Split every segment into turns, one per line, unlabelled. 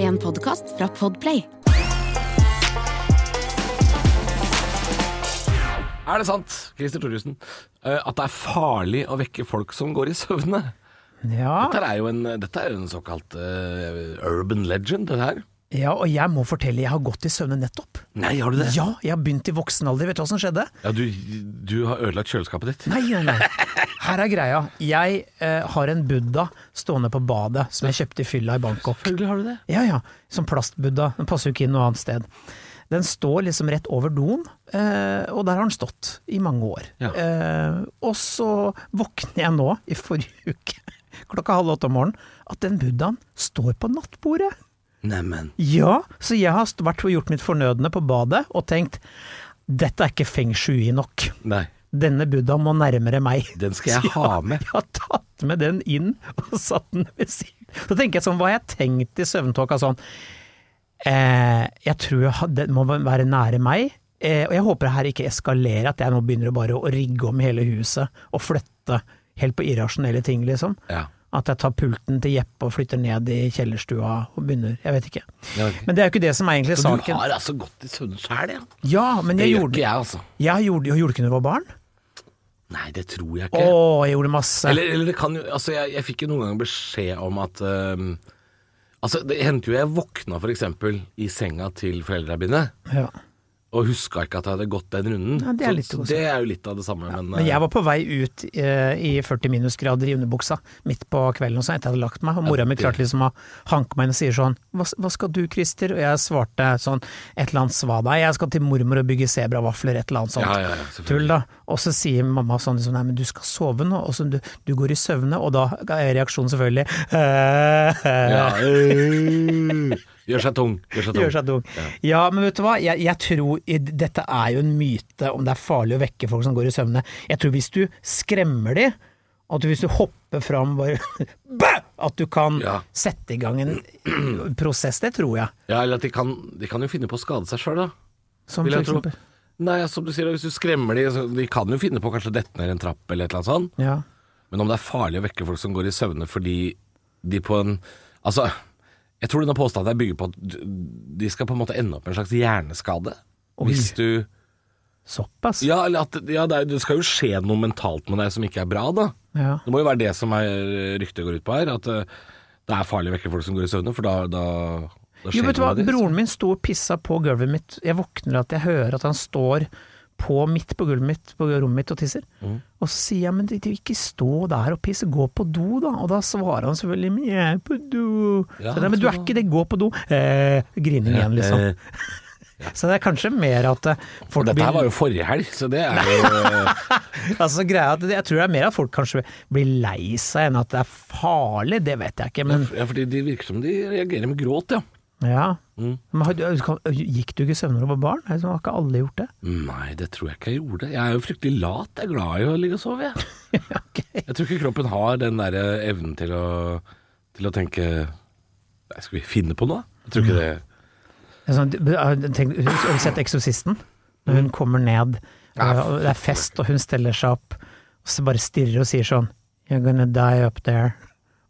En podcast fra Podplay
Er det sant, Christer Thoresen, eh, at det er farlig å vekke folk som går i søvne?
Ja,
Dette er jo en, dette er jo en såkalt eh, urban legend, det her.
ja, og jeg må fortelle, jeg har gått i søvne nettopp.
Nei, har du det?
Ja, jeg har begynt i voksen alder, vet du hva som skjedde?
Ja, du, du har ødelagt kjøleskapet ditt.
Nei, nei, nei. Her er greia. Jeg eh, har en buddha stående på badet som jeg kjøpte i fylla i Bangkok.
Selvfølgelig har du det.
Ja, ja. Som plastbuddha. Den passer jo ikke inn noe annet sted. Den står liksom rett over doen, eh, og der har den stått i mange år.
Ja.
Eh, og så våkner jeg nå, i forrige uke, klokka halv åtte om morgenen, at den buddhaen står på nattbordet.
Neimen.
Ja, så jeg har vært og gjort mitt fornødne på badet og tenkt dette er ikke feng shui nok.
Nei.
Denne buddhaen må nærmere meg.
Den skal jeg
Så
ha med.
Jeg har tatt med den inn og satt den ved siden. Så tenker jeg sånn, hva har jeg tenkt i søvntåka sånn? Eh, jeg tror jeg har- den må være nære meg, eh, og jeg håper det her ikke eskalerer, at jeg nå begynner å bare å rigge om hele huset og flytte helt på irrasjonelle ting, liksom.
Ja.
At jeg tar pulten til Jeppe og flytter ned i kjellerstua og begynner, jeg vet ikke.
Jeg vet ikke.
Men det er jo ikke det som er egentlig
Så du
saken.
har altså gått i søvne sjæl, ja?
Ja, men
Det
jeg
gjør
gjorde,
ikke jeg, altså.
jeg gjorde, jeg gjorde ikke når jeg var barn.
Nei, det tror jeg
Å,
ikke.
jeg gjorde masse.
Eller, eller det kan jo Altså, jeg, jeg fikk jo noen ganger beskjed om at ehm, Altså, det hendte jo jeg våkna f.eks. i senga til foreldra mine.
Ja.
Og huska ikke at jeg hadde gått den runden.
Ja, det er
Så-
litt
så
også.
det er jo litt av det samme, men,
Men jeg var på vei ut eh, i 40 minusgrader i underbuksa midt på kvelden og sånn, etter jeg hadde lagt meg. Og mora mi
det-
klarte liksom å hanke meg inn og sier sånn hva, 'Hva skal du, Christer?' Og jeg svarte sånn et eller annet svada. 'Jeg skal til mormor og bygge sebravafler', et eller annet sånt.
Ja, ja, ja, selvfølgelig.
Tull, da. Og så sier mamma sånn liksom 'Nei, men du skal sove nå', og så du, du går i søvne. Og da er reaksjonen selvfølgelig
ja, øh, Gjør seg tung. Gjør seg tung.
Gjør seg dum. Ja. men vet du hva, jeg, jeg tror i- dette er jo en myte om det er farlig å vekke folk som går i søvne. Jeg tror hvis du skremmer de, at du- hvis du hopper fram bare bæ! At du kan
Ja.
sette i gang en prosess, det tror jeg.
Ja, eller at de kan, de kan jo finne på å skade seg sjøl, da.
Som
vil
for
jeg tro.
eksempel.
Nei, ja, som du sier, hvis du skremmer de, så de kan jo finne på å kanskje dette ned en trapp eller et eller annet sånt.
Ja.
Men om det er farlig å vekke folk som går i søvne fordi de på en Altså, jeg tror denne påstanden her bygger på at du- de skal på en måte ende opp med en slags hjerneskade.
Oi.
Hvis du
Såpass. Ja.
Ja, eller at ja, det, er, det skal jo skje noe mentalt med deg som ikke er bra, da.
Ja.
Det må jo være det som er ryktet går ut på her, at eh, det er farlig å vekke folk som går i søvne, for da, da, da
Jo,
skjer
vet du hva,
det. altså. noe med
broren min sto og pissa på gulvet mitt. Jeg våkner at jeg hører at han står på midt på gulvet mitt, på rommet mitt og tisser.
Mm.
Og så sier jeg, men du, du, ikke stå der og pisse, gå på do da. Og da svarer han selvfølgelig, men jeg er på do.
Ja,
så jeg, men du er
så-
ikke det, gå på do. Eh, grining igjen, liksom.
Eh,
Så det er kanskje mer at eh, folk
Dette her
blir
var jo forrige helg, så det er jo
altså, greia, er at Jeg tror det er mer at folk kanskje blir lei seg enn at det er farlig, det vet jeg ikke. Men
eh, Ja, fordi de virker som de reagerer med gråt, ja. Mm.
ja. Men, har du- gikk du ikke i søvne da du var barn? Nei, så Har ikke alle gjort det?
Nei, det tror jeg ikke jeg gjorde. Jeg er jo fryktelig lat. Jeg er glad i å ligge og sove, jeg.
Ok.
Jeg tror ikke kroppen har den der eh, evnen til å, til å tenke Nei, skal vi finne på noe? Jeg
Mm.
tror ikke det
Det er Sånn, tenk, har du sett Eksorsisten? Når hun kommer ned, og det er fest, og hun steller seg opp, og så bare stirrer og sier sånn You're gonna die up there.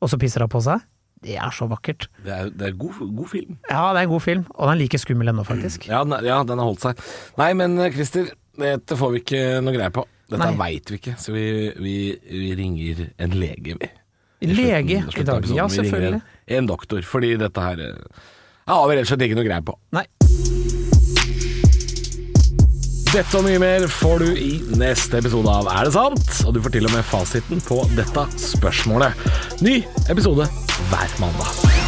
Og så pisser hun på seg. Det er så vakkert.
Det er, det er god, god film.
Ja, det er en god film, og den er like skummel ennå, faktisk.
Ja, den- ja, den har holdt seg. Nei, men eh, Christer, dette får vi ikke noe greie på. Dette
Nei.
veit vi ikke, så vi, vi, vi ringer en lege, vi.
Lege
Slutten- slutten
i
av
dag.
episoden.
Ja,
Vi ringer
selvfølgelig.
En, en doktor, fordi dette her eh, ja, har vi rett og slett ikke noe greie på.
Nei.
Dette og mye mer får du i neste episode av Er det sant? Og du får til og med fasiten på dette spørsmålet. Ny episode hver mandag.